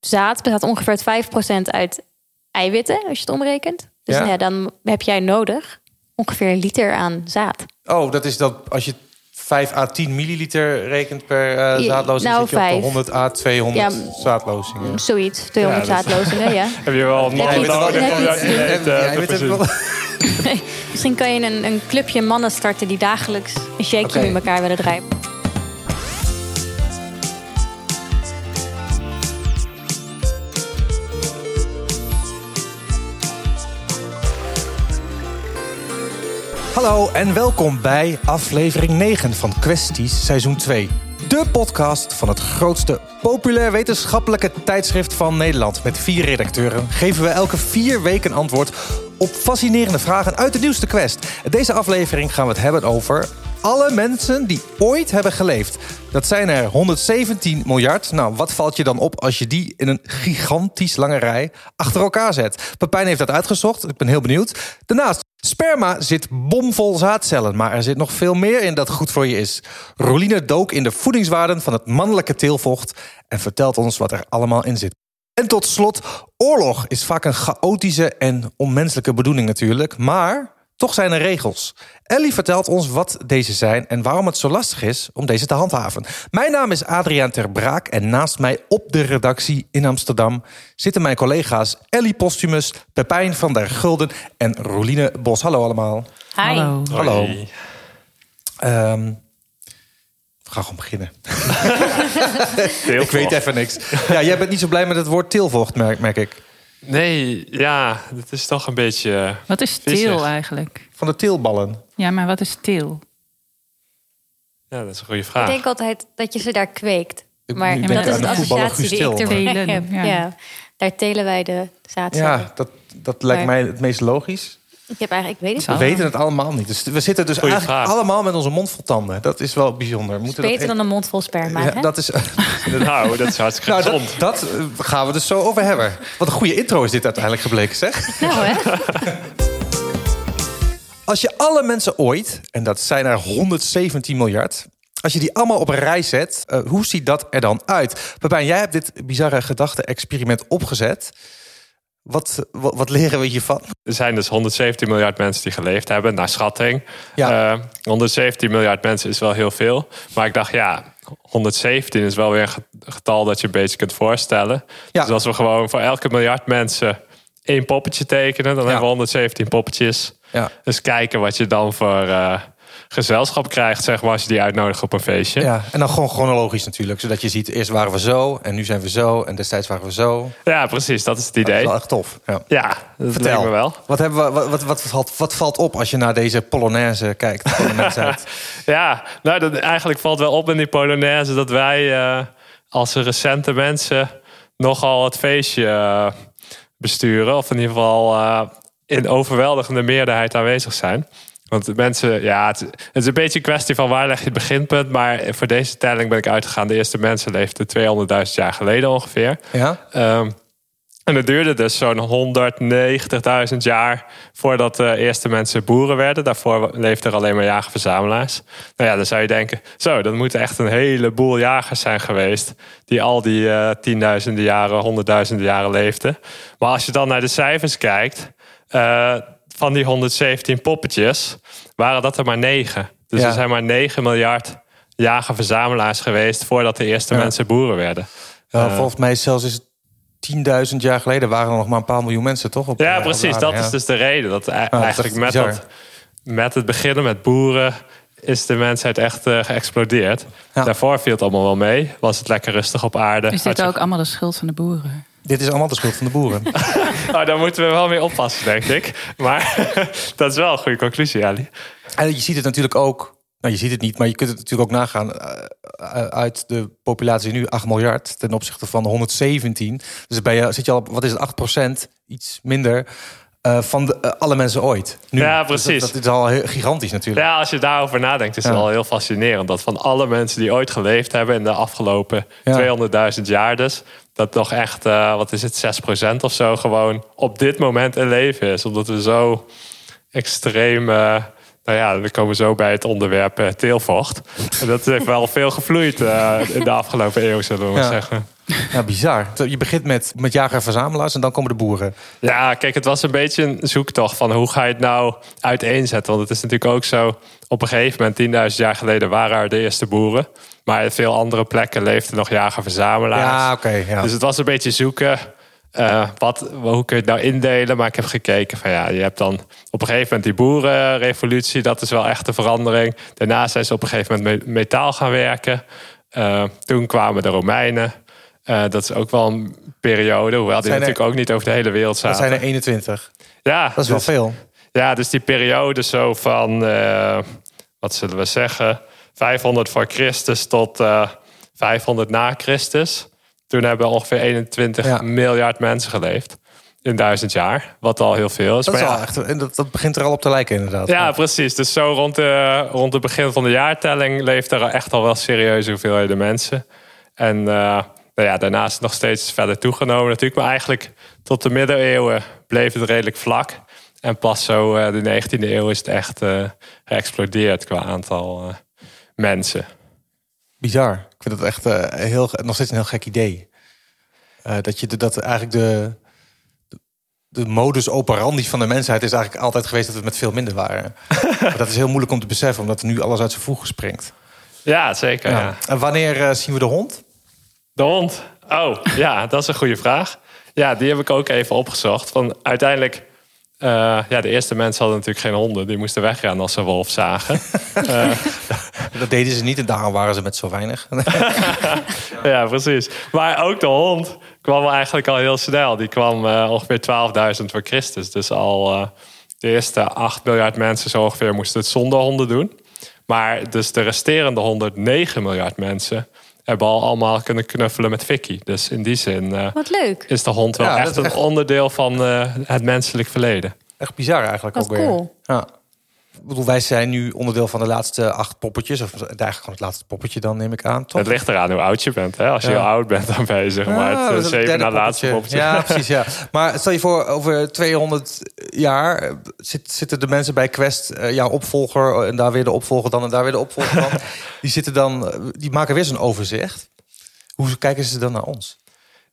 zaad bestaat ongeveer 5% uit eiwitten, als je het omrekent. Dus Ja. nou ja, dan heb jij nodig ongeveer een liter aan zaad. Oh, dat is dat als je 5 à 10 milliliter rekent per eh Ja, zaadloos, dan nou, zit je op de vijf. 100 à 200 Ja, zaadlozingen. Zoiets, 200 Ja, dat- zaadlozingen, ja. Heb je wel een Heb man je weet iets- nodig heb om je dat iets- dieet, eh, te Jij weet het voorzien? wel. Misschien kan je een, een clubje mannen starten die dagelijks een shakeje Oké. met elkaar willen drijven. Hallo en welkom bij aflevering 9 van Kwesties seizoen 2. De podcast van het grootste populair wetenschappelijke tijdschrift van Nederland. Met vier redacteuren geven we elke vier weken een antwoord op fascinerende vragen uit de nieuwste quest. Deze aflevering gaan we het hebben over alle mensen die ooit hebben geleefd. Dat zijn er 117 miljard. Nou, wat valt je dan op als je die in een gigantisch lange rij achter elkaar zet? Pepijn heeft dat uitgezocht. Ik ben heel benieuwd. Daarnaast Sperma zit bomvol zaadcellen, maar er zit nog veel meer in dat goed voor je is. Roline dook in de voedingswaarden van het mannelijke teelvocht en vertelt ons wat er allemaal in zit. En tot slot, oorlog is vaak een chaotische en onmenselijke bedoeling natuurlijk, maar toch zijn er regels. Ellie vertelt ons wat deze zijn en waarom het zo lastig is om deze te handhaven. Mijn naam is Adriaan Ter Braak en naast mij op de redactie in Amsterdam zitten mijn collega's Ellie Postumus, Pepijn van der Gulden en Roline Bos. Hallo allemaal. Hallo. Hallo. Hoi. Ehm, we gaan gewoon beginnen. Teelvocht. Ik Oh. weet even niks. Ja, jij bent niet zo blij met het woord teelvocht, merk, merk ik. Nee, ja, dat is toch een beetje... eh, Wat is Vissig. teel eigenlijk? Van de teelballen. Ja, maar wat is teel? Ja, dat is een goede Ik vraag. denk altijd dat je ze daar kweekt. Ik Maar denk dat aan is de de voetballer associatie die ik Guus erbij Til. heb. Ja. Telen, ja. Daar telen wij de zaadcellen. Ja, dat, dat lijkt Maar- mij het meest logisch. Ik heb eigenlijk, ik weet het We Ah. weten het allemaal niet. Dus we zitten dus Goeie eigenlijk vraag. allemaal met onze mond vol tanden. Dat is wel bijzonder. We niet. Moeten Beter dat dan een mond vol sperma. Ja, hè? dat is. Nou, dat is hartstikke Nou, gezond. dat, dat eh, gaan we dus zo over hebben. Wat een goede intro is dit uiteindelijk gebleken, zeg. Nou, hè? Als je alle mensen ooit, en dat zijn er 117 miljard, als je die allemaal op een rij zet, eh, hoe ziet dat er dan uit? Pepijn, jij hebt dit bizarre gedachte-experiment opgezet. Wat, wat, wat leren we hiervan? Er zijn dus 117 miljard mensen die geleefd hebben, naar schatting. Ja. Eh, 117 miljard mensen is wel heel veel. Maar ik dacht, ja, 117 is wel weer een ge- getal dat je een beetje kunt voorstellen. Ja. Dus als we gewoon voor elke miljard mensen één poppetje tekenen... dan hebben we 117 poppetjes. Ja. Dus kijken wat je dan voor eh, gezelschap krijgt, zeg maar... als je die uitnodigt op een feestje. Ja, Ja, en dan gewoon chronologisch natuurlijk. Zodat je ziet, eerst waren we zo, en nu zijn we zo, en destijds waren we zo. precies, dat is het Dat is idee. wel echt tof. Ja. Ja, dat Vertel. lijkt me wel. Wat, hebben we, wat, wat, wat, valt, wat valt op als je naar deze Polonaise kijkt? van de mensheid? Ja, nou, dat, eigenlijk valt wel op in die Polonaise dat wij eh, als recente mensen nogal het feestje eh, besturen. Of in ieder geval eh, in overweldigende meerderheid aanwezig zijn. Want de mensen, ja, het, het is een beetje een kwestie van waar leg je het beginpunt. Maar voor deze telling ben ik uitgegaan. De eerste mensen leefden 200.000 jaar geleden ongeveer. ja? Ehm, en het duurde dus zo'n 190.000 jaar voordat de eerste mensen boeren werden. Daarvoor leefden er alleen maar jager-verzamelaars. Nou ja, dan zou je denken, zo, dat moeten echt een heleboel jagers zijn geweest... die al die eh tienduizenden jaren, honderdduizenden jaren leefden. Maar als je dan naar de cijfers kijkt, eh, van die 117 poppetjes waren dat er maar negen. Dus Ja. er zijn maar 9 miljard jager-verzamelaars geweest... voordat de eerste Ja. mensen boeren werden. Ja, Eh. volgens mij zelfs is het 10.000 jaar geleden waren er nog maar een paar miljoen mensen, toch? Op, eh, Ja, op precies. aarde, Dat ja. Ah, is dus de reden. Dat ei- dat is eigenlijk echt met, bizar. dat, met het beginnen met boeren is de mensheid echt eh, geëxplodeerd. Ja. Daarvoor viel het allemaal wel mee. Was het lekker rustig op aarde. Is dit ook allemaal de schuld van de boeren? Dit is allemaal de schuld van de boeren. Oh, daar moeten we wel mee oppassen, denk ik. Maar dat is wel een goede conclusie, Ali. en je ziet het natuurlijk ook... Nou, je ziet het niet, maar je kunt het natuurlijk ook nagaan. eh, eh, uit de populatie nu 8 miljard ten opzichte van de 117. Dus ben je, zit je al op, wat is het, 8 Iets minder eh, van de, eh, alle mensen ooit. Nu. Ja, Dus dat- precies. dat, is al heel gigantisch natuurlijk. Ja, als je daarover nadenkt, is het Ja. wel heel fascinerend. Dat van alle mensen die ooit geleefd hebben in de afgelopen Ja. 200.000 jaar dus... dat toch echt, eh, wat is het, 6% of zo gewoon op dit moment in leven is. Omdat we zo extreem... eh, nou ja, we komen zo bij het onderwerp eh, teelvocht. En dat heeft wel veel gevloeid eh, in de afgelopen eeuw, zullen we maar Ja. zeggen. Ja, bizar. Je begint met, met jager en verzamelaars en dan komen de boeren. Ja, kijk, het was een beetje een zoektocht van hoe ga je het nou uiteenzetten. Want het is natuurlijk ook zo, op een gegeven moment, 10.000 jaar geleden waren er de eerste boeren. Maar op veel andere plekken leefden nog jager-verzamelaars. Ja, oké. ja. Dus het was een beetje zoeken, eh, wat, hoe kun je het nou indelen? Maar ik heb gekeken van ja, je hebt dan op een gegeven moment die boerenrevolutie. Dat is wel echt een verandering. Daarna zijn ze op een gegeven moment met metaal gaan werken. Eh, toen kwamen de Romeinen. Eh, dat is ook wel een periode, hoewel die zijn er- natuurlijk ook niet over de hele wereld zaten. dat zijn er 21. Ja, Dat is wel dus- veel. Ja, dus die periode zo van, eh, wat zullen we zeggen, 500 voor Christus tot eh, 500 na Christus. Toen hebben ongeveer 21 Ja. miljard mensen geleefd in duizend jaar, wat al heel veel is. Dat, is Maar wel ja, echt, en dat, dat begint er al op te lijken inderdaad. ja, precies. Dus zo rond, de, rond het begin van de jaartelling leeft er echt al wel serieuze hoeveelheden mensen. En eh, nou ja, daarna is het nog steeds verder toegenomen natuurlijk. Maar eigenlijk tot de middeleeuwen bleef het redelijk vlak. En pas zo eh, de 19e eeuw is het echt eh, geëxplodeerd qua aantal eh, mensen. Bizar. Ik vind dat echt eh, heel, nog steeds een heel gek idee. Eh, dat, je de, dat eigenlijk de, de modus operandi van de mensheid is eigenlijk altijd geweest dat we met veel minder waren. maar dat is heel moeilijk om te beseffen, omdat nu alles uit zijn voegen springt. Ja, zeker. Ja. Ja. En wanneer eh, zien we de hond? De hond. Oh, ja, dat is een goede vraag. Ja, die heb ik ook even opgezocht. Van uiteindelijk, eh, ja, de eerste mensen hadden natuurlijk geen honden. Die moesten weggaan als ze een wolf zagen. Dat deden ze niet en daarom waren ze met zo weinig. Ja, precies. Maar ook de hond kwam eigenlijk al heel snel. Die kwam eh, ongeveer 12.000 voor Christus. Dus al eh, de eerste 8 miljard mensen zo ongeveer moesten het zonder honden doen. Maar dus de resterende 109 miljard mensen hebben al allemaal kunnen knuffelen met Vicky. Dus in die zin eh, Wat leuk. is de hond wel Ja, dat echt is een echt- onderdeel van eh, het menselijk verleden. Echt bizar eigenlijk Wat ook weer. cool. Ja. Ik bedoel, wij zijn nu onderdeel van de laatste acht poppetjes. Of eigenlijk gewoon het laatste poppetje dan, neem ik aan. Toch? Het ligt eraan hoe oud je bent. Hè? Als je Ja. heel oud bent, dan ben je zeg maar Ah, dat het is eh, zeven derde na laatste poppetje. poppetje. Ja, precies. Ja. Maar stel je voor, over 200 jaar eh, zit, zitten de mensen bij Quest, eh, jouw opvolger, eh, en daar weer de opvolger dan, en daar weer de opvolger dan. Die, zitten dan, eh, die maken weer zo'n overzicht. Hoe kijken ze dan naar ons?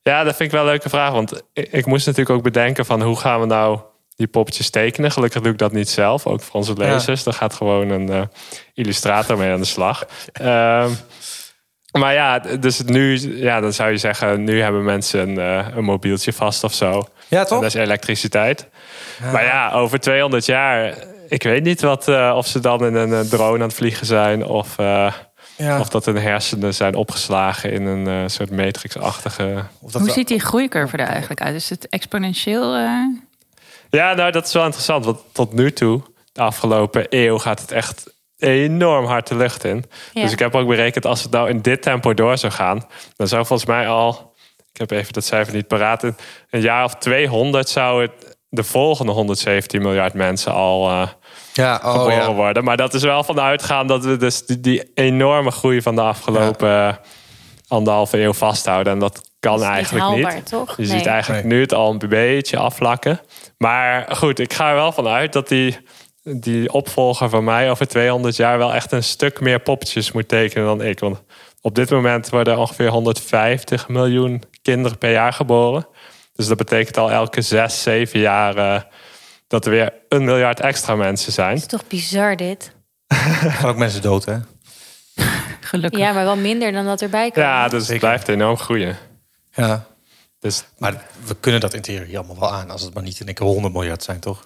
Ja, dat vind ik wel een leuke vraag. Want ik, ik moest natuurlijk ook bedenken van hoe gaan we nou die poppetjes tekenen. Gelukkig doe ik dat niet zelf, ook voor onze lezers. Daar gaat gewoon een eh, illustrator mee aan de slag. Ehm, maar ja, dus nu, ja, dan zou je zeggen, nu hebben mensen een, eh, een mobieltje vast of zo. Ja, En toch? dat is elektriciteit. Maar ja, over 200 jaar, ik weet niet wat, eh, of ze dan in een eh, drone aan het vliegen zijn of... eh, Ja. Of dat hun hersenen zijn opgeslagen in een eh, soort matrixachtige Of Hoe we- ziet die groeicurve er eigenlijk uit? Is het exponentieel? eh? Ja, nou dat is wel interessant. Want tot nu toe, de afgelopen eeuw, gaat het echt enorm hard de lucht in. Ja. Dus ik heb ook berekend, als het nou in dit tempo door zou gaan, dan zou volgens mij al, ik heb even dat cijfer niet paraat, in een jaar of 200 zou het de volgende 117 miljard mensen al eh, ja, oh, geboren ja. worden. Maar dat is wel van uitgaan dat we dus die, die enorme groei van de afgelopen eh, anderhalve eeuw vasthouden. En dat kan Dat is niet eigenlijk haalbaar, niet. toch? Je Nee. ziet eigenlijk Nee. nu het al een beetje afvlakken. Maar goed, ik ga er wel van uit dat die, die opvolger van mij over 200 jaar wel echt een stuk meer poppetjes moet tekenen dan ik. Want op dit moment worden ongeveer 150 miljoen kinderen per jaar geboren. Dus dat betekent al elke zes, zeven jaar eh, dat er weer een miljard extra mensen zijn. Het is toch bizar dit? Er gaan ook mensen dood, hè? Gelukkig. Ja, maar wel minder dan dat erbij kan. Ja, dus het blijft enorm groeien. Ja. Dus Maar we kunnen dat in theorie allemaal wel aan, als het maar niet in één keer 100 miljard zijn, toch?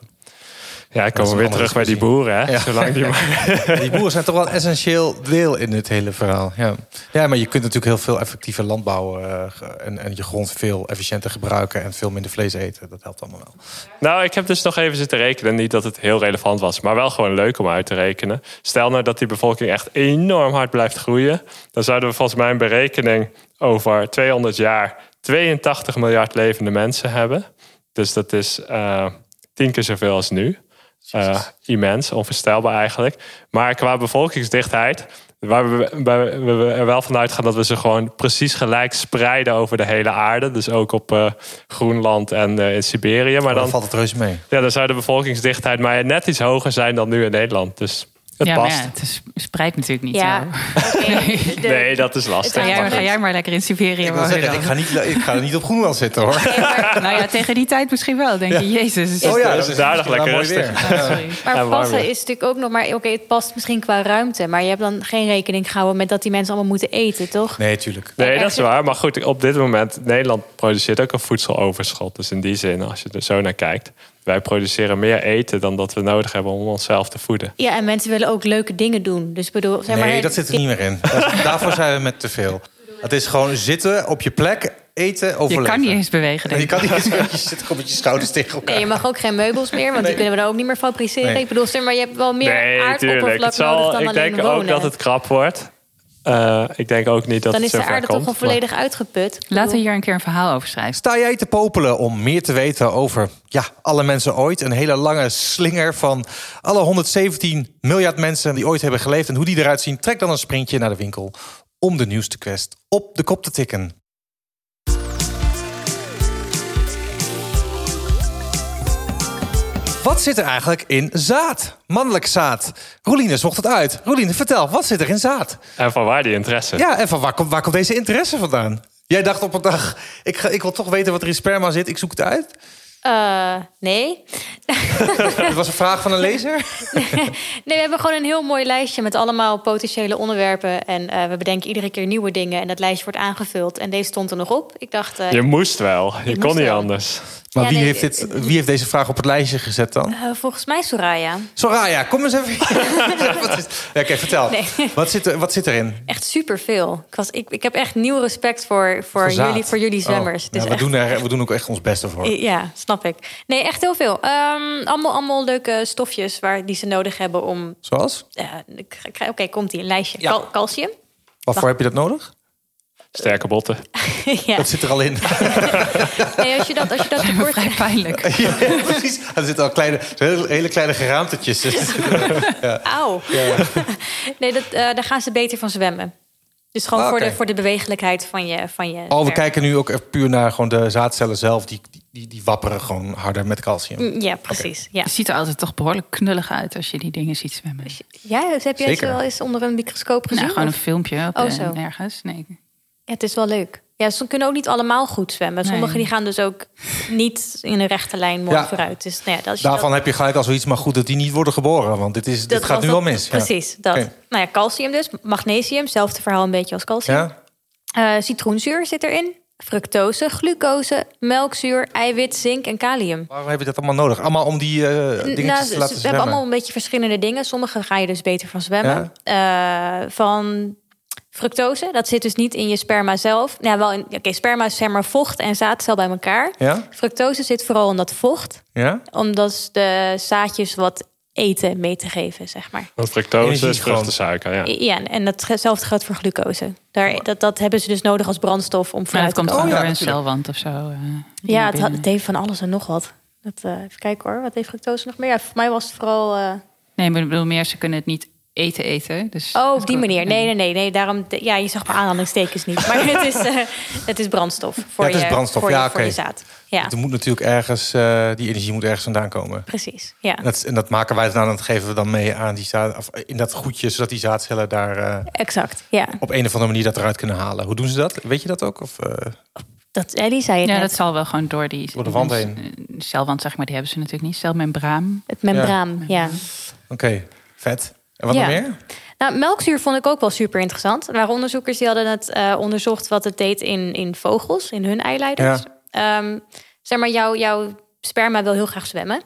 ja, ik is kom een weer andere terug bij die discussie. boeren. Hè? Ja. Zolang die maar... Die boeren zijn toch wel een essentieel deel in het hele verhaal. Ja, ja maar je kunt natuurlijk heel veel effectiever landbouw eh, ge- en, en je grond veel efficiënter gebruiken en veel minder vlees eten. Dat helpt allemaal wel. Nou, ik heb dus nog even zitten rekenen. Niet dat het heel relevant was, maar wel gewoon leuk om uit te rekenen. Stel nou dat die bevolking echt enorm hard blijft groeien. Dan zouden we volgens mijn berekening over 200 jaar 82 miljard levende mensen hebben. Dus dat is eh, tien keer zoveel als nu. Eh, immens, onvoorstelbaar eigenlijk. Maar qua bevolkingsdichtheid, waar we, waar we- we er wel van uitgaan dat we ze gewoon precies gelijk spreiden over de hele aarde. Dus ook op eh, Groenland en eh, in Siberië. Maar Dan dan, valt het reuze mee. ja, dan zou de bevolkingsdichtheid maar net iets hoger zijn dan nu in Nederland. Dus Het ja, past. maar ja, het is, spreidt natuurlijk niet Ja. zo. Oké, de- Nee, dat is lastig. Ga Ja, jij, maar maar, ga goed. jij maar lekker in Siberië Ik, wil wonen zeggen, ik, dan. ga niet, ik ga niet op Groenland zitten hoor. nee, maar- Nou ja, tegen die tijd misschien wel. Denk je, jezus. Oh ja, het dat is is daar nog misschien wel lekker mooi rustig. weer. Oh, sorry. Maar En warm passen weer. is natuurlijk ook nog maar... Oké, het past misschien qua ruimte. Maar je hebt dan geen rekening gehouden met dat die mensen allemaal moeten eten, toch? Nee, tuurlijk. Nee, dat is waar. Maar goed, op dit moment, Nederland produceert ook een voedseloverschot. Dus in die zin, als je er zo naar kijkt, wij produceren meer eten dan dat we nodig hebben om onszelf te voeden. Ja, en mensen willen ook leuke dingen doen. Dus ik bedoel, zeg maar, Nee, dat zit er niet meer in. Dat- Daarvoor zijn we met te veel. Het is gewoon zitten op je plek, eten, Je overleven. kan niet eens bewegen. Je Denk ik. kan niet eens, je zit gewoon met je schouders tegen elkaar. Nee, je mag ook geen meubels meer, want Nee. die kunnen we dan ook niet meer fabriceren. Nee. Ik bedoel, zeg maar je hebt wel meer aardoppervlak Het zal- nodig dan ik alleen denk wonen. ook dat het krap wordt. Eh, ik denk ook niet dat dan het is de zover aarde komt. toch al maar- volledig uitgeput. Ik Laten we bedoel, hier een keer een verhaal over schrijven. Sta jij te popelen om meer te weten over ja, alle mensen ooit? Een hele lange slinger van alle 117 miljard mensen die ooit hebben geleefd en hoe die eruit zien. Trek dan een sprintje naar de winkel om de nieuwste quest op de kop te tikken. Wat zit er eigenlijk in zaad? Mannelijk zaad. Roeline zocht het uit. Roeline, vertel, wat zit er in zaad? En van waar die interesse? Ja, en van waar komt, waar komt deze interesse vandaan? Jij dacht op een dag, ik, ga, ik wil toch weten wat er in sperma zit, ik zoek het uit. eh, nee. Het was een vraag van een lezer. Nee, we hebben gewoon een heel mooi lijstje met allemaal potentiële onderwerpen. En eh, we bedenken iedere keer nieuwe dingen. En dat lijstje wordt aangevuld. En deze stond er nog op. Ik dacht, eh, Je moest wel. Je moest kon niet wel. anders. Maar Ja, wie, nee, heeft dit, wie heeft deze vraag op het lijstje gezet dan? eh, volgens mij Soraya. Soraya, ah, kom eens even. Wat is- Ja, Oké, vertel. Nee. Wat, zit er, wat zit erin? Echt superveel. Ik, was, ik, ik heb echt nieuw respect voor, voor, zaad. jullie, voor jullie Oh, zwemmers. ja, Het is we, echt- doen er, we doen ook echt ons best ervoor. Ja, snap ik. Nee, echt heel veel. Ehm, allemaal, allemaal leuke stofjes waar, die ze nodig hebben om... Zoals? eh, ik ga- ik ga- Oké, komt die een lijstje. Ja. Cal- calcium. Waarvoor heb je dat nodig? Sterke botten. ja. Dat zit er al in. Nee, als je dat, als je dat tekort... Vrij pijnlijk. Ja, precies. Er zitten al kleine, hele, hele kleine geraamtetjes. Auw. nee, dat, eh, daar gaan ze beter van zwemmen. Dus gewoon Ah, voor, oké. de, voor de bewegelijkheid van je... Van je Oh, we werk. kijken nu ook echt puur naar gewoon de zaadcellen zelf. Die, die- die, die wapperen gewoon harder met calcium. Mm, Ja, precies. Ja. Het ziet er altijd toch behoorlijk knullig uit als je die dingen ziet zwemmen. Ja, dus heb jij het Zeker. wel eens onder een microscoop gezien? Nou, gewoon een Of- filmpje op Oh, eh, zo. nergens. Nee. Ja, het is wel leuk. Ja, ze kunnen ook niet allemaal goed zwemmen. Nee. Sommigen die gaan dus ook niet in een rechte lijn mooi Ja. vooruit. Dus nou ja, dat, als je dat- Daarvan heb je gelijk al zoiets, maar goed dat die niet worden geboren. Want dit, is, dat dit gaat was nu dat- al mis. Ja. Precies, dat. Oké. Nou ja, calcium dus. Magnesium, hetzelfde verhaal een beetje als calcium. Ja? Eh, citroenzuur zit erin. Fructose, glucose, melkzuur, eiwit, zink en kalium. Waarom heb je dat allemaal nodig? Allemaal om die eh, dingetjes Nou, te ze- laten ze hebben zwemmen? allemaal een beetje verschillende dingen. Sommige ga je dus beter van zwemmen. Eh, van fructose, dat zit dus niet in je sperma zelf. Nou, wel in, oké, sperma is zeg maar vocht en zaadcel bij elkaar. Ja? Fructose zit vooral in dat vocht, Ja? omdat ze de zaadjes wat eten mee te geven, zeg maar. Want fructose Energie is gewoon. vruchtensuiker. Ja. Ja, en datzelfde geldt voor glucose. Daar, dat, dat hebben ze dus nodig als brandstof om Maar vooruit dat te komt komen. gewoon ja, door een natuurlijk. celwand of zo. eh, Ja, het, had- binnen. het deed van alles en nog wat. Dat, eh, even kijken hoor, wat heeft fructose nog meer? Ja, voor mij was het vooral... eh, Nee, maar ik bedoel meer, ze kunnen het niet eten eten. Dus Oh, op die manier. Nee, nee, nee. nee daarom, ja, je zag mijn aanhalingstekens niet. Maar het is, eh, het is brandstof voor, Ja, het is je, brandstof. voor, Ja, je, voor je oké. zaad. Ja, Er moet natuurlijk ergens, eh, die energie moet ergens vandaan komen. precies. Ja. En dat, en dat maken wij dan, dat geven we dan mee aan die zaad, of in dat goedje, zodat die zaadcellen daar eh, Exact, ja. op een of andere manier dat eruit kunnen halen. Hoe doen ze dat? Weet je dat ook? Of, eh, Dat, Ellie zei het Ja, net. dat zal wel gewoon door die... Door de wand heen. eh, Celwand, zeg maar, die hebben ze natuurlijk niet. Celmembraan. Het membraan, ja. Oké, vet. En wat Ja. nog meer? Nou, melkzuur vond ik ook wel super interessant. Er waren onderzoekers die hadden het eh, onderzocht wat het deed in, in vogels, in hun eileiders. Ehm, zeg maar, jouw jouw sperma wil heel graag zwemmen.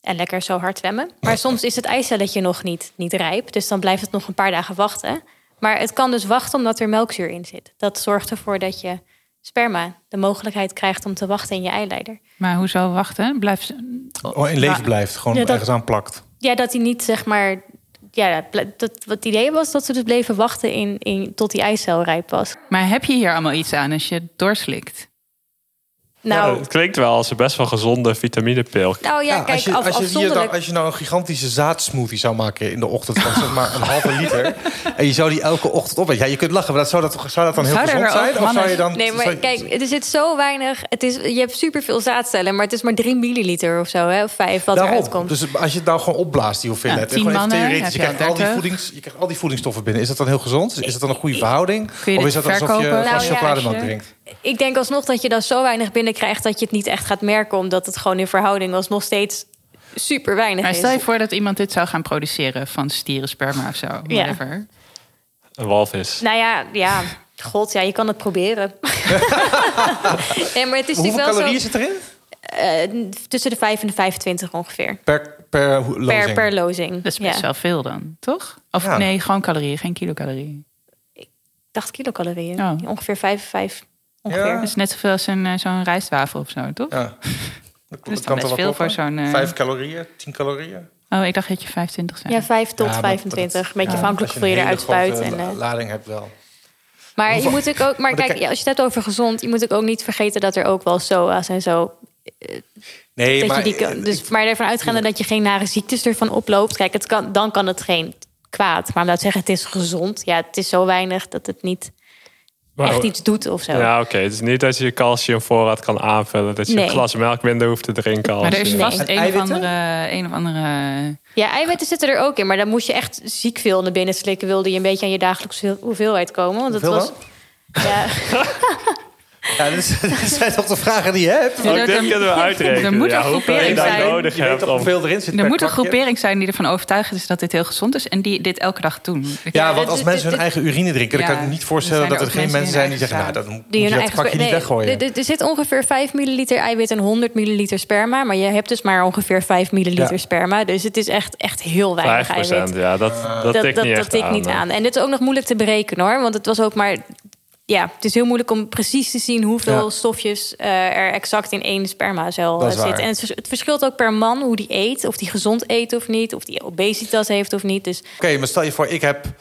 En lekker zo hard zwemmen. Maar soms is het eicelletje nog niet, niet rijp. Dus dan blijft het nog een paar dagen wachten. Maar het kan dus wachten omdat er melkzuur in zit. Dat zorgt ervoor dat je sperma de mogelijkheid krijgt om te wachten in je eileider. Maar hoezo wachten? Blijf ze... Oh, in leven blijft, gewoon Ja, dat- ergens aan plakt. Ja, dat hij niet zeg maar. Ja, dat, dat, wat het idee was dat ze dus bleven wachten in, in, tot die eicel rijp was. Maar heb je hier allemaal iets aan als je het doorslikt? Nou, Het klinkt wel als een best wel gezonde vitaminepil. nou ja, Ja, kijk, als, je, af- als, je hier dan, afzonderlijk. als je nou een gigantische zaadsmoothie zou maken in de ochtend van zeg maar een halve liter. En je zou die elke ochtend opeten. Ja, je kunt lachen, maar dat, zou, dat, zou dat dan heel Zou er gezond ook zijn? Of mannen- zou je dan, Nee, maar zou- kijk, er zit zo weinig. Het is, je hebt superveel zaadcellen, maar het is maar 3 milliliter of zo, hè, of 5 wat Daarom. eruit komt. Dus als je het nou gewoon opblaast, die hoeveelheid. Ja, tien gewoon even mannen, theoretisch. heb Je je krijgt, al die 30. voedings, je krijgt al die voedingsstoffen binnen. Is dat dan heel gezond? Is dat dan een goede verhouding? Kun je of is dat dit alsof je verkopen? een glas Nou ja, chocolademelk als je- drinkt? Ik denk alsnog dat je dan zo weinig binnenkrijgt dat je het niet echt gaat merken, omdat het gewoon in verhouding alsnog steeds super weinig Maar is. stel je voor dat iemand dit zou gaan produceren van stierensperma of zo. Whatever. Een walvis. Nou ja, ja, god, ja, je kan het proberen. nee, maar het is natuurlijk Hoeveel wel calorieën zo zit erin? eh, tussen de 5 en de 25 ongeveer. Per, per ho- Per, lozing. per lozing. Dat is best ja. wel veel dan, toch? Of Ja. nee, gewoon calorieën, geen kilocalorieën. 80 kilocalorieën. Oh. Ongeveer 5, 5. Ja. Ongeveer. Dat is net zoveel als een, eh, zo'n rijstwafel of zo, toch? Ja. Dat Dat is kan Dus toch dan best wel veel kloppen? voor zo'n... eh, Vijf calorieën, tien calorieën. Oh, ik dacht dat je 25 zei. Ja, 5 tot Ja, maar dat- 25. Beetje ja, afhankelijk als hoeveel je een eruit hele grote spuit. En, eh, lading hebt wel. Maar je Hoeveel- moet ook, ook maar dan kijk, kijk- ja, als je het hebt over gezond, je moet ook, ook niet vergeten dat er ook wel SOA's en zo. Nee, Dat maar, eh, je die, kan- dus, maar ervan uitgaande dat je geen nare ziektes ervan oploopt. Kijk, het kan, dan kan het geen kwaad. Maar om nou te zeggen, het is gezond. Ja, het is zo weinig dat het niet Maar- echt iets doet of zo. Ja, oké. Het is niet dat je je calciumvoorraad kan aanvullen. Dat je Nee. een glas melk minder hoeft te drinken. Als Maar er is je- vast En een of, eiwitten? andere, een of andere... Ja, eiwitten zitten er ook in. Maar dan moest je echt ziek veel naar binnen slikken. Wilde je een beetje aan je dagelijkse hoeveelheid komen. Want dat Hoeveel was. Ja, ja, dus, dat zijn toch de vragen die je hebt? Ja, Oh, dit er- kunnen we uitrekenen. er moet ja, een hoeveel je groepering daar zijn. nodig Je weet hebt toch om... hoeveel erin zit Er per moet een pakje? groepering zijn die ervan overtuigd is dat dit heel gezond is... en die dit elke dag doen. Ja, want dit- als dit- mensen hun dit- eigen urine drinken... dan Ja, kan ik me niet dan voorstellen zijn er dat er ook geen mensen mensen die zijn die zeggen... nou, hun eigen dat moet die je hun dat eigen. pakje niet nee, weggooien. d- d- Er zit ongeveer 5 milliliter eiwit en 100 milliliter sperma. Maar je hebt dus maar ongeveer 5 milliliter Ja. sperma. Dus het is echt, echt heel weinig 5 eiwit. ja. Dat, dat, dat, tikt dat, niet dat echt tikt aan. niet hè. aan. En dit is ook nog moeilijk te berekenen hoor. Want het was ook maar. Ja, het is heel moeilijk om precies te zien hoeveel Ja. stofjes eh, er exact in één spermacel Dat eh, is waar. zitten. En het, vers- het verschilt ook per man hoe die eet. Of die gezond eet of niet. Of die obesitas heeft of niet. Dus Oké, maar stel je voor, ik heb... Dit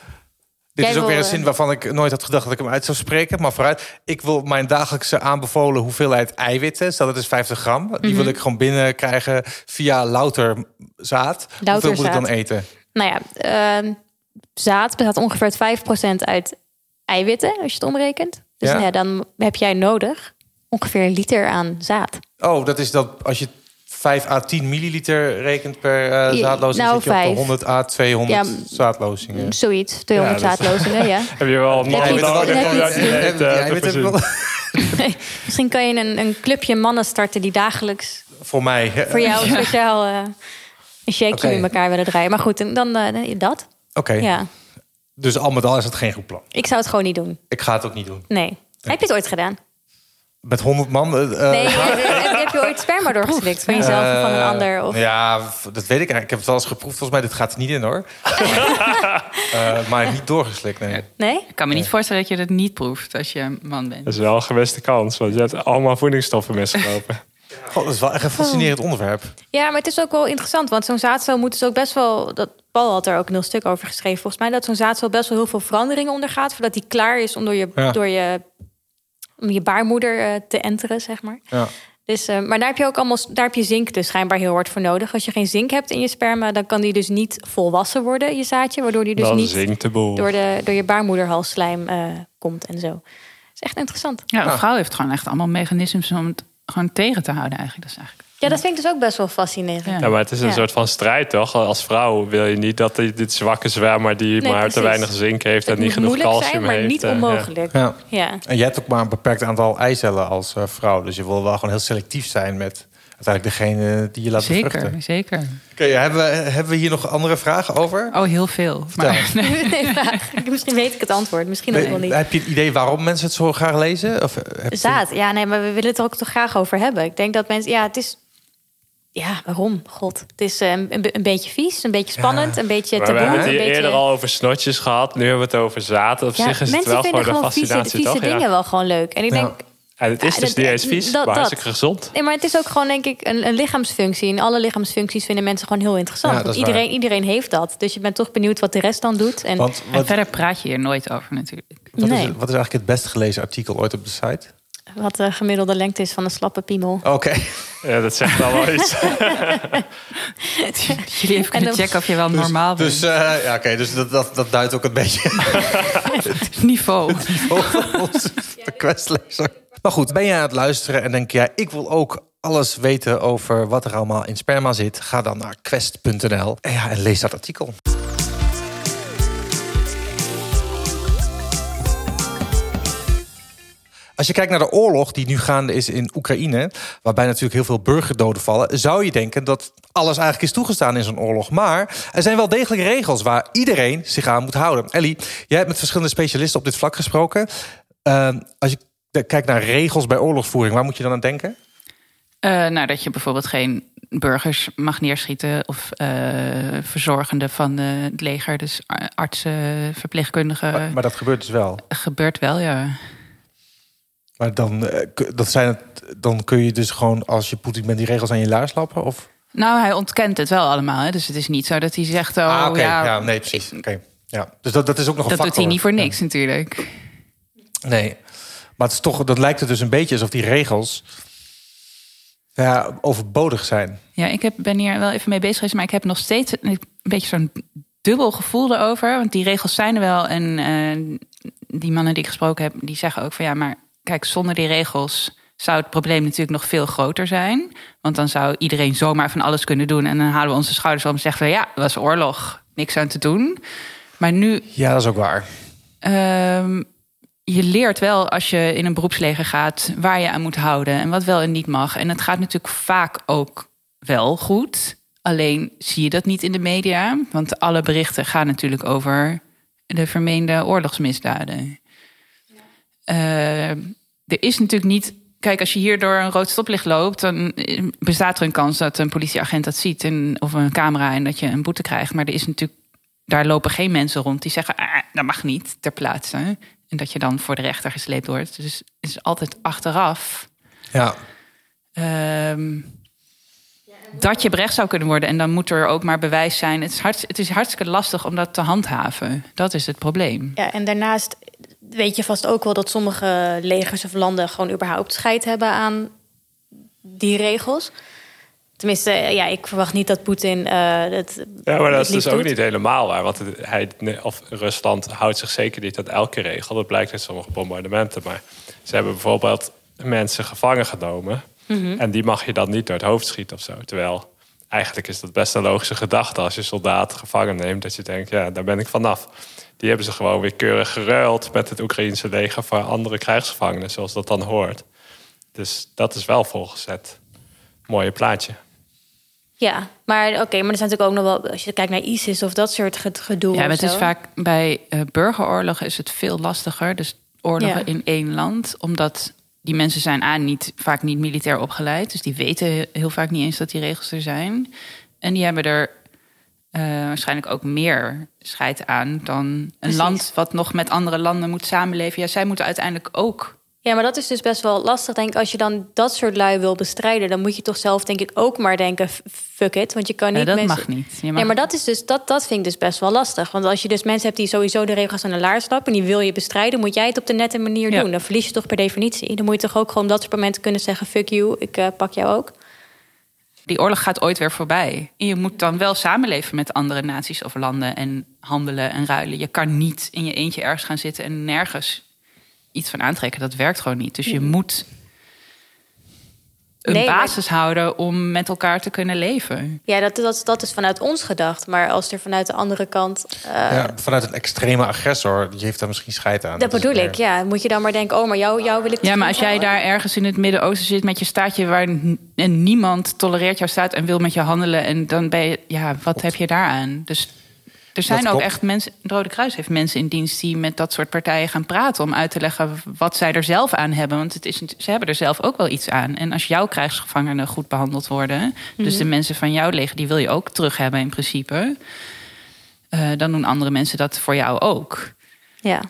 Jij is ook weer wil, een eh, zin waarvan ik nooit had gedacht dat ik hem uit zou spreken. Maar vooruit, ik wil mijn dagelijkse aanbevolen hoeveelheid eiwitten... stel dat is 50 gram, die Mhm. wil ik gewoon binnenkrijgen via louter zaad. hoeveel moet ik dan zaad. eten? nou ja, ehm, zaad bestaat ongeveer uit 5% uit eiwitten. Als je het omrekent. Dus Ja. nou ja, dan heb jij nodig ongeveer een liter aan zaad. Oh, dat is dat als je 5 à 10 milliliter rekent per eh Je- zaadlozing... nou, zit je op de vijf. 100 à 200 Ja, m- zaadlozingen. Zoiets. 200 Ja, dat- zaadlozingen, ja. Heb je wel een Heb je man iets- nodig heb om je eh, dat iets- te eten, Ja, te weet het voorzien? wel. Misschien kan je een, een clubje mannen starten die dagelijks Voor mij. hè. voor jou speciaal eh, een shakeje Oké. in elkaar willen draaien. Maar goed, dan eh, dat. Oké, Ja. dus al met al is het geen goed plan. Ik zou het gewoon niet doen. Ik ga het ook niet doen. Nee. Heb je het ooit gedaan? Met 100 man. eh, eh, Nee, heb, heb- heb je ooit sperma doorgeslikt van jezelf of van een eh, ander? Of... Ja, v- dat weet ik eigenlijk. Ik heb het wel eens geproefd. Volgens mij, dit gaat er niet in hoor. Eh, maar niet doorgeslikt, nee. Nee? Ik kan me niet voorstellen dat je dat niet proeft als je man bent. Dat is wel een gewiste kans, want je hebt allemaal voedingsstoffen misgelopen. God, dat is wel echt Oh. een fascinerend onderwerp. Ja, maar het is ook wel interessant, want zo'n zaadcel moet dus ook best wel... Dat, Paul had er ook een heel stuk over geschreven, volgens mij... dat zo'n zaadcel best wel heel veel veranderingen ondergaat... voordat die klaar is om door je, Ja. door je, om je baarmoeder eh, te enteren, zeg maar. Ja. Dus, eh, maar daar heb je ook allemaal, daar heb je zink dus schijnbaar heel hard voor nodig. Als je geen zink hebt in je sperma, dan kan die dus niet volwassen worden, je zaadje. Waardoor die dus dan niet zingt de boel. door, de, door je baarmoederhalsslijm eh, komt en zo. Dat is echt interessant. Ja, een vrouw heeft gewoon echt allemaal mechanismes om het gewoon tegen te houden eigenlijk. Dat is eigenlijk... Ja, dat vind ik dus ook best wel fascinerend. Ja. Ja, maar het is een Ja. soort van strijd, toch? Als vrouw wil je niet dat die- dit zwakke zwemmer... die Nee, maar te precies. weinig zink heeft Het en niet moet genoeg moeilijk calcium zijn, maar heeft. niet eh, ja. onmogelijk. Ja. Ja. En je hebt ook maar een beperkt aantal eicellen als eh, vrouw. Dus je wil wel gewoon heel selectief zijn met uiteindelijk degene die je laat bevruchten. Zeker, zeker. Oké, hebben, we, hebben we hier nog andere vragen over? Oh, heel veel. Maar, nee. Nee, vraag. Misschien weet ik het antwoord, misschien ook Nee, wel niet. Heb je het idee waarom mensen het zo graag lezen? Of eh, heb je- Zaad, ja, nee, maar we willen het er ook toch graag over hebben. Ik denk dat mensen, ja, het is... Ja, waarom? God, het is eh, een, een beetje vies, een beetje spannend, een beetje Maar we taboe. hebben het een hier beetje... eerder al over snotjes gehad. Nu hebben we het over zaad. Op Ja, zich is mensen het wel vinden gewoon een gewoon vieze, fascinatie, vieze toch? Ja. dingen wel gewoon leuk. En ik Ja. denk, En het is Ja, dus dat- niet eens vies, dat- maar dat. hartstikke gezond. nee, maar het is ook gewoon denk ik een, een lichaamsfunctie. En alle lichaamsfuncties vinden mensen gewoon heel interessant. Ja, dat want is waar. iedereen, iedereen heeft dat. Dus je bent toch benieuwd wat de rest dan doet. En Want En wat, verder praat je hier nooit over natuurlijk. wat, nee. is, wat is eigenlijk het best gelezen artikel ooit op de site? wat de gemiddelde lengte is van een slappe piemel. Oké. Dus- Ja, dat zegt al wel iets. Jullie even kunnen En dan- checken of je wel normaal Dus, eh, ja, oké, dus dat, dat, dat duidt ook een beetje bent. Niveau. over onze de questlezer. Maar goed, ben je aan het luisteren en denk je... Ja, ik wil ook alles weten over wat er allemaal in sperma zit... ga dan naar quest.nl en, ja, en lees dat artikel. Als je kijkt naar de oorlog die nu gaande is in Oekraïne, waarbij natuurlijk heel veel burgerdoden vallen, zou je denken dat alles eigenlijk is toegestaan in zo'n oorlog. Maar er zijn wel degelijk regels waar iedereen zich aan moet houden. Ellie, jij hebt met verschillende specialisten op dit vlak gesproken. Ehm, als je k- kijkt naar regels bij oorlogsvoering, waar moet je dan aan denken? Eh, nou, dat je bijvoorbeeld geen burgers mag neerschieten of eh, verzorgenden van eh, het leger, dus a- artsen, verpleegkundigen. Maar, maar dat gebeurt dus wel. Gebeurt wel, ja. Maar dan, eh, k- dat zijn het, dan kun je dus gewoon, als je Poetin bent, die regels aan je luis lappen? Of? Nou, hij ontkent het wel allemaal, hè? dus het is niet zo dat hij zegt: Oh, ah, oké. ja, ja, nee, precies. Oké. Ja. Dus dat, dat is ook nog een dat doet hij factor. niet voor Ja. niks natuurlijk. Nee. Maar het is toch, dat lijkt er dus een beetje alsof die regels ja, overbodig zijn. Ja, ik heb, ben hier wel even mee bezig geweest, maar ik heb nog steeds een beetje zo'n dubbel gevoel erover. Want die regels zijn er wel. En eh, die mannen die ik gesproken heb, die zeggen ook van ja, maar kijk, zonder die regels zou het probleem natuurlijk nog veel groter zijn. Want dan zou iedereen zomaar van alles kunnen doen. En dan halen we onze schouders op en zeggen we ja, was oorlog, niks aan te doen. Maar nu Ja, dat is ook waar. Ehm, je leert wel als je in een beroepsleger gaat waar je aan moet houden en wat wel en niet mag. En het gaat natuurlijk vaak ook wel goed. Alleen zie je dat niet in de media, want alle berichten gaan natuurlijk over de vermeende oorlogsmisdaden. Eh, er is natuurlijk niet. Kijk, als je hier door een rood stoplicht loopt, dan eh, bestaat er een kans dat een politieagent dat ziet en, of een camera en dat je een boete krijgt. Maar er is natuurlijk daar lopen geen mensen rond die zeggen: ah, dat mag niet ter plaatse. En dat je dan voor de rechter gesleept wordt. Dus het is altijd achteraf Ja. ehm, dat je berecht zou kunnen worden. En dan moet er ook maar bewijs zijn. Het is, hart, het is hartstikke lastig om dat te handhaven. Dat is het probleem. Ja, en daarnaast weet je vast ook wel dat sommige legers of landen gewoon überhaupt scheid hebben aan die regels. Tenminste, eh, ja, ik verwacht niet dat Poetin eh het. Ja, maar dat het is dus liefst ook doet. niet helemaal waar. Want het- hij, nee, of Rusland houdt zich zeker niet aan elke regel. Dat blijkt uit sommige bombardementen. Maar ze hebben bijvoorbeeld mensen gevangen genomen. En die mag je dan niet door het hoofd schieten of zo. Terwijl eigenlijk is dat best een logische gedachte. Als je soldaat gevangen neemt, dat je denkt, ja, daar ben ik vanaf. Die hebben ze gewoon weer keurig geruild met het Oekraïense leger... voor andere krijgsgevangenen, zoals dat dan hoort. Dus dat is wel volgens het mooie plaatje. Ja, maar oké, maar er zijn natuurlijk ook nog wel. Als je kijkt naar ISIS of dat soort ged- gedoe. Ja, maar of het is zo. vaak bij eh, burgeroorlogen is het veel lastiger. Dus oorlogen Ja. in één land, omdat die mensen zijn A, niet, vaak niet militair opgeleid. Dus die weten he- heel vaak niet eens dat die regels er zijn. En die hebben er eh, waarschijnlijk ook meer scheid aan dan een Precies. land wat nog met andere landen moet samenleven. Ja, zij moeten uiteindelijk ook. Ja, maar dat is dus best wel lastig. Denk ik, als je dan dat soort lui wil bestrijden, dan moet je toch zelf, denk ik, ook maar denken: f- fuck it. Want je kan niet. Ja, dat mensen... mag niet. Je mag- Nee, maar dat, is dus, dat, dat vind ik dus best wel lastig. Want als je dus mensen hebt die sowieso de regels aan de laars stappen... en die wil je bestrijden, moet jij het op de nette manier Ja. doen. Dan verlies je toch per definitie. Dan moet je toch ook gewoon op dat soort momenten kunnen zeggen... fuck you, ik eh, pak jou ook. Die oorlog gaat ooit weer voorbij. En je moet dan wel samenleven met andere naties of landen en handelen en ruilen. Je kan niet in je eentje ergens gaan zitten en nergens iets van aantrekken. Dat werkt gewoon niet. Dus je moet een Mm. Nee, maar- basis houden om met elkaar te kunnen leven. Ja, dat, dat, dat is vanuit ons gedacht. Maar als er vanuit de andere kant... eh, ja. Vanuit een extreme agressor, die heeft daar misschien scheid aan. Dus dat is bedoel meer- ik, ja. Moet je dan maar denken, oh, maar jou, jou wil ik... Ja, maar als jij daar ergens in het Midden-Oosten zit met je staatje waar n- en niemand tolereert jouw staat en wil met je handelen, en dan ben je, ja, wat heb je daaraan? Dus er zijn Dat ook klopt. echt mensen, het Rode Kruis heeft mensen in dienst die met dat soort partijen gaan praten om uit te leggen wat zij er zelf aan hebben. Want het is, ze hebben er zelf ook wel iets aan. En als jouw krijgsgevangenen goed behandeld worden, dus de mensen van jouw leger, die wil je ook terug hebben in principe, eh, dan doen andere mensen dat voor jou ook. Ja.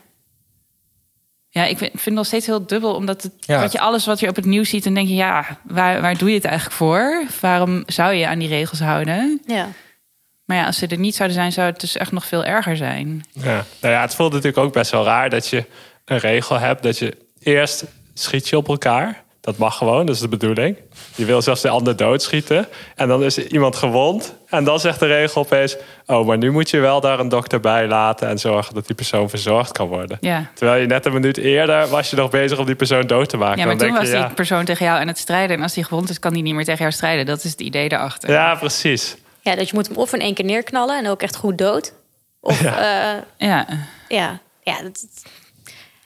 Ja, ik vind vind het nog steeds heel dubbel, omdat het, Ja. dat je alles wat je op het nieuws ziet, en denk je, ja, waar, waar doe je het eigenlijk voor? Waarom zou je je aan die regels houden? ja. Maar ja, als ze er niet zouden zijn, zou het dus echt nog veel erger zijn. Ja. Nou ja, het voelt natuurlijk ook best wel raar dat je een regel hebt dat je eerst schiet je op elkaar. Dat mag gewoon, dat is de bedoeling. Je wil zelfs de ander doodschieten. En dan is iemand gewond. En dan zegt de regel opeens... oh, maar nu moet je wel daar een dokter bij laten... en zorgen dat die persoon verzorgd kan worden. Ja. Terwijl je net een minuut eerder was je nog bezig om die persoon dood te maken. Ja, maar Dan toen denk was je, die persoon tegen jou aan het strijden. En als die gewond is, kan die niet meer tegen jou strijden. Dat is het idee daarachter. ja, ja, precies. Ja, dat je moet hem of in één keer neerknallen en ook echt goed dood. Of ja, Ja. ja, ja dat,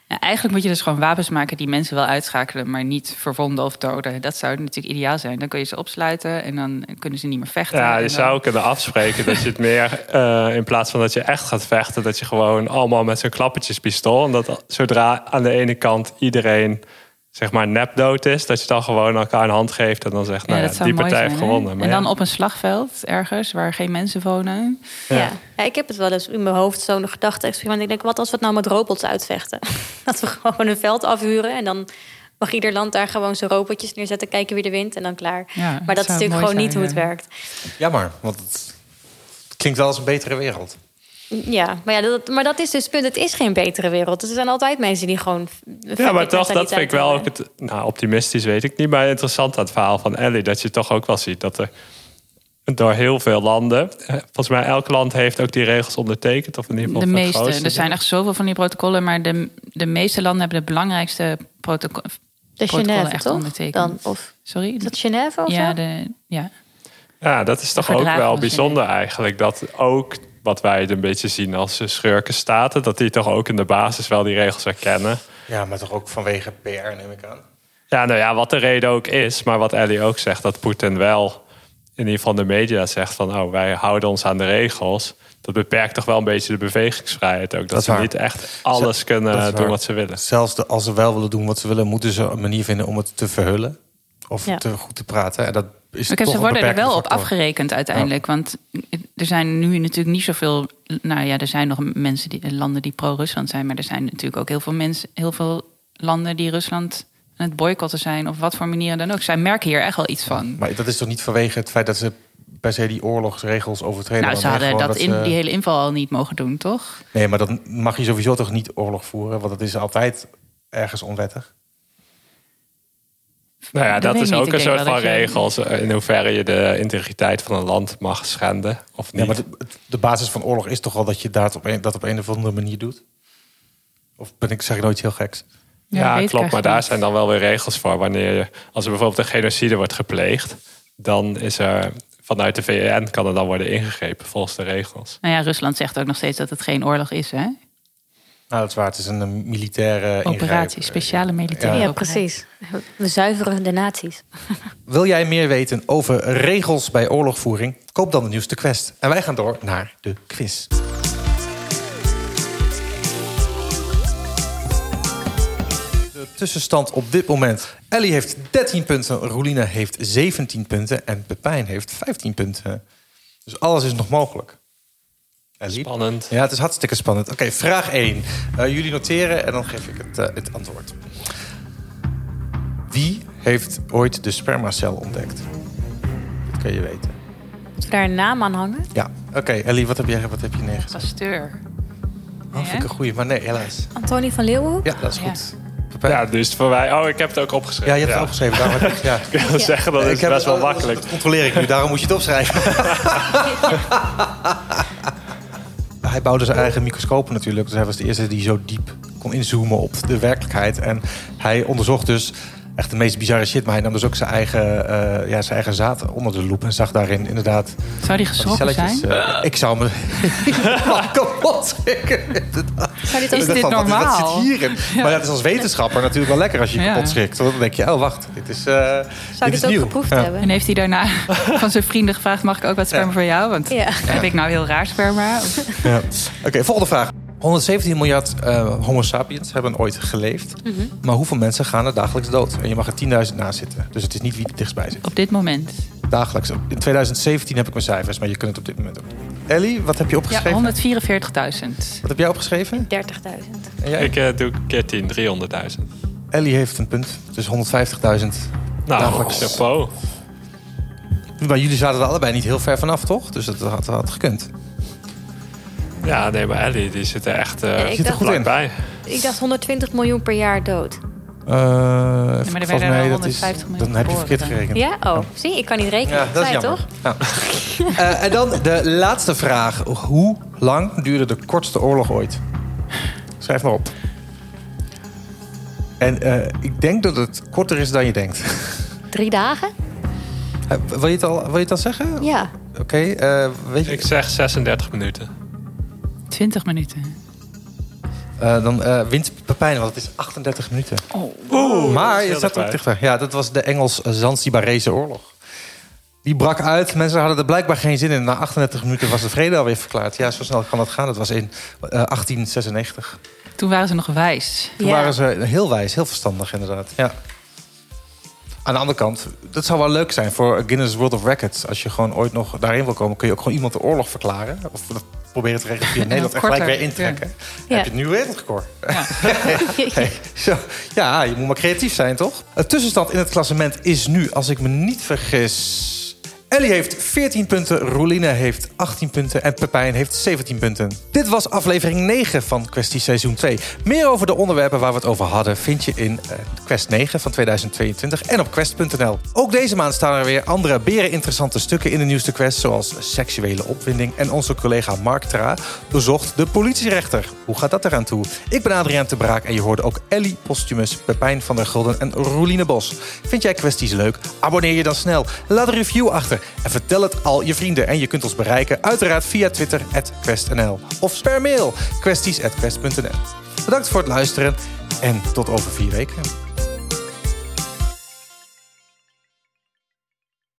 Ja, eigenlijk moet je dus gewoon wapens maken die mensen wel uitschakelen, maar niet verwonden of doden. Dat zou natuurlijk ideaal zijn. Dan kun je ze opsluiten en dan kunnen ze niet meer vechten. Ja, En eh, je dan- zou kunnen afspreken dat je het meer... eh, in plaats van dat je echt gaat vechten... dat je gewoon allemaal met zo'n klappertjespistool... en dat zodra aan de ene kant iedereen zeg maar nepdood is... dat je dan gewoon elkaar een hand geeft en dan zegt... Ja, nou dat ja, zou die mooi partij zijn, heeft hè? gewonnen. Maar En dan ja. op een slagveld ergens waar geen mensen wonen. Ja. Ja, ik heb het wel eens in mijn hoofd zo'n gedachte-experiment. Ik denk, wat als we het nou met robots uitvechten? dat we gewoon een veld afhuren en dan mag ieder land daar gewoon zijn robotjes neerzetten, kijken wie er wint en dan klaar. Ja, maar dat is zou natuurlijk mooi gewoon niet hoe zijn, het ja. werkt. Jammer, want het klinkt wel als een betere wereld. Ja, maar, ja, dat, maar dat is dus het punt. Het is geen betere wereld. Dus er zijn altijd mensen die gewoon. Ja, maar toch, dat vind ik wel ook het... Nou, optimistisch weet ik niet, maar interessant aan het verhaal van Ellie... dat je toch ook wel ziet dat er door heel veel landen... eh, volgens mij elk land heeft ook die regels ondertekend... of in ieder geval De voor het meeste. grootste Er zijn deel. echt zoveel van die protocollen, maar de, de meeste landen hebben de belangrijkste protocollen. De protocollen Genève, echt toch? ondertekend. Dan, of Sorry? is dat Genève of ja, zo? de, ja. Ja, dat is toch De ook verdragen wel van bijzonder eigenlijk. Dat ook wat wij het een beetje zien als eh, schurkenstaten... dat die toch ook in de basis wel die regels herkennen. Ja, maar toch ook vanwege PR, neem ik aan. Ja, nou ja, wat de reden ook is, maar wat Ellie ook zegt... dat Poetin wel in ieder geval in de media zegt van... oh, wij houden ons aan de regels. Dat beperkt toch wel een beetje de bewegingsvrijheid ook. Dat, is ze waar. niet echt alles kunnen Dat is eh, doen waar. wat ze willen. Zelfs de- als ze wel willen doen wat ze willen, moeten ze een manier vinden om het te verhullen. Of Ja. te goed te praten. En dat is Oké, toch ze een worden er beperkende wel op factor. afgerekend uiteindelijk. Want er zijn nu natuurlijk niet zoveel. Nou ja, er zijn nog mensen die, landen die pro-Rusland zijn. Maar er zijn natuurlijk ook heel veel mensen, heel veel landen die Rusland aan het boycotten zijn. Of wat voor manieren dan ook. Zij merken hier echt wel iets van. Maar dat is toch niet vanwege het feit dat ze per se die oorlogsregels overtreden. Nou, maar ze meer hadden gewoon dat, in, ze- die hele inval al niet mogen doen, toch? Nee, maar dan mag je sowieso toch niet oorlog voeren, want dat is altijd ergens onwettig. Nou ja, Dat dat weet is ik niet. ook Ik een denk soort wel van dat je- regels... eh, in hoeverre je de integriteit van een land mag schenden of niet. Ja, maar de, de basis van oorlog is toch al dat je dat op, een, dat op een of andere manier doet? Of ben ik, zeg ik nooit heel geks? Ja, Ja, weet ik klopt. Maar eigenlijk daar niet. zijn dan wel weer regels voor. Wanneer je, als er bijvoorbeeld een genocide wordt gepleegd, dan is er vanuit de VN kan er dan worden ingegrepen volgens de regels. Nou ja, Rusland zegt ook nog steeds dat het geen oorlog is, hè? Nou, dat is waar. Het is een, eh, militaire eh, Operatie, ingrijp. speciale Ja, militaire Ja. operatie. precies. We zuiveren de naties. Wil jij meer weten over regels bij oorlogvoering? Koop dan de nieuwste Quest. En wij gaan door naar de quiz. De tussenstand op dit moment. Ellie heeft 13 punten, Roelina heeft 17 punten en Pepijn heeft 15 punten. Dus alles is nog mogelijk. Ellie? Spannend. Ja, het is hartstikke spannend. Oké, vraag 1. jullie noteren en dan geef ik het, eh, het antwoord. Wie heeft ooit de spermacel ontdekt? Dat kun je weten. Moeten we daar een naam aan hangen? Ja, oké. Ellie, wat heb, jij, wat heb je neergezet? Pasteur. Oh, vind ik een goeie, maar nee, helaas. Antoni van Leeuwenhoek? Ja, dat is Ja. goed. Pepijn? Ja, dus voor mij. Oh, ik heb het ook opgeschreven. Ja, je hebt het opgeschreven. Daarom heb ik, ja. Ik wil zeggen, dat Eh, Ik is heb best het- wel makkelijk. Dat controleer ik nu, daarom moet je het opschrijven. hij bouwde zijn eigen microscopen natuurlijk. Dus hij was de eerste die zo diep kon inzoomen op de werkelijkheid. En hij onderzocht dus echt de meest bizarre shit. Maar hij nam dus ook zijn eigen, eh, ja, zijn eigen zaad onder de loep. En zag daarin inderdaad Zou die van die geschrokken celletjes. zijn? eh, ik zou me Oh, helemaal kapot schrikken. inderdaad. Zou dit Ik ook... dacht dit van, wat is- Wat normaal? zit hierin? Maar dat is als wetenschapper natuurlijk wel lekker als je je Ja. kapot schrikt. Want dan denk je, oh wacht, dit is, eh Zou dit dit is ook nieuw. geproefd Ja. hebben? En heeft hij daarna van zijn vrienden gevraagd: mag ik ook wat sperma voor jou? Want Ja. heb ik nou heel raar sperma? Of- Ja. Oké, volgende vraag. 117 miljard eh, homo sapiens hebben ooit geleefd. Maar hoeveel mensen gaan er dagelijks dood? En je mag er 10.000 naast zitten. Dus het is niet wie het dichtstbij zit. Op dit moment. Dagelijks. In 2017 heb ik mijn cijfers, maar je kunt het op dit moment ook doen. Ellie, wat heb je Ja, opgeschreven? 144.000. Wat heb jij opgeschreven? 30.000. En jij? Ik eh, doe keer 10, 300.000. Ellie heeft een punt. Dus 150.000. Nou, Dagelijks. chapeau. Maar jullie zaten er allebei niet heel ver vanaf, toch? Dus dat had, had gekund. Ja, nee, maar Ellie, die zit er echt eh ik Zit er dacht- goed in. vlakbij. Ik dacht 120 miljoen per jaar dood. Oké, Eh, even- maar er volgens werden mij er dat is- 150 miljoen Dan heb je geboren. verkeerd gerekend. Ja? Oh, zie, ik kan niet rekenen. Ja, dat is Fijn, jammer. toch? Ja. Eh, en dan de laatste vraag. Hoe lang duurde de kortste oorlog ooit? Schrijf maar op. En eh, ik denk dat het korter is dan je denkt. Drie dagen? Eh, wil, je het al, wil je het al zeggen? Ja. Oké, eh, weet je... Ik zeg 36 minuten. 20 minuten. eh, dan eh, wint Pepijn, want het is 38 minuten. Oeh, maar je heel staat er ook dichtbij. dichter. Ja, dat was de Engels-Zanzibarese oorlog. Die brak uit. Mensen hadden er blijkbaar geen zin in. Na 38 minuten was de vrede alweer verklaard. Ja, zo snel kan dat gaan. Dat was in eh, 1896. Toen waren ze nog wijs. Toen Ja. waren ze heel wijs, heel verstandig inderdaad. Ja. Aan de andere kant, dat zou wel leuk zijn voor Guinness World of Records. Als je gewoon ooit nog daarin wil komen, kun je ook gewoon iemand de oorlog verklaren. Of dat proberen te regelen via Nederland en korter, gelijk weer ja. intrekken. Ja. Dan heb je het nieuwe wereldrecord. Hey, zo. Ja, je moet maar creatief zijn, toch? De tussenstand in het klassement is nu, als ik me niet vergis... Ellie heeft 14 punten, Roeline heeft 18 punten en Pepijn heeft 17 punten. Dit was aflevering 9 van Questie Seizoen 2. Meer over de onderwerpen waar we het over hadden vind je in eh, Quest 9 van 2022 en op quest.nl. Ook deze maand staan er weer andere beren interessante stukken in de nieuwste Quest, zoals seksuele opwinding en onze collega Mark Tra bezocht de politierechter. Hoe gaat dat eraan toe? Ik ben Adriaan te Braak en je hoorde ook Ellie Postumus, Pepijn van der Gulden en Roeline Bos. Vind jij kwesties leuk? Abonneer je dan snel. Laat een review achter en vertel het al je vrienden. En je kunt ons bereiken uiteraard via Twitter at questnl of per mail kwesties at quest.nl. Bedankt voor het luisteren en tot over vier weken.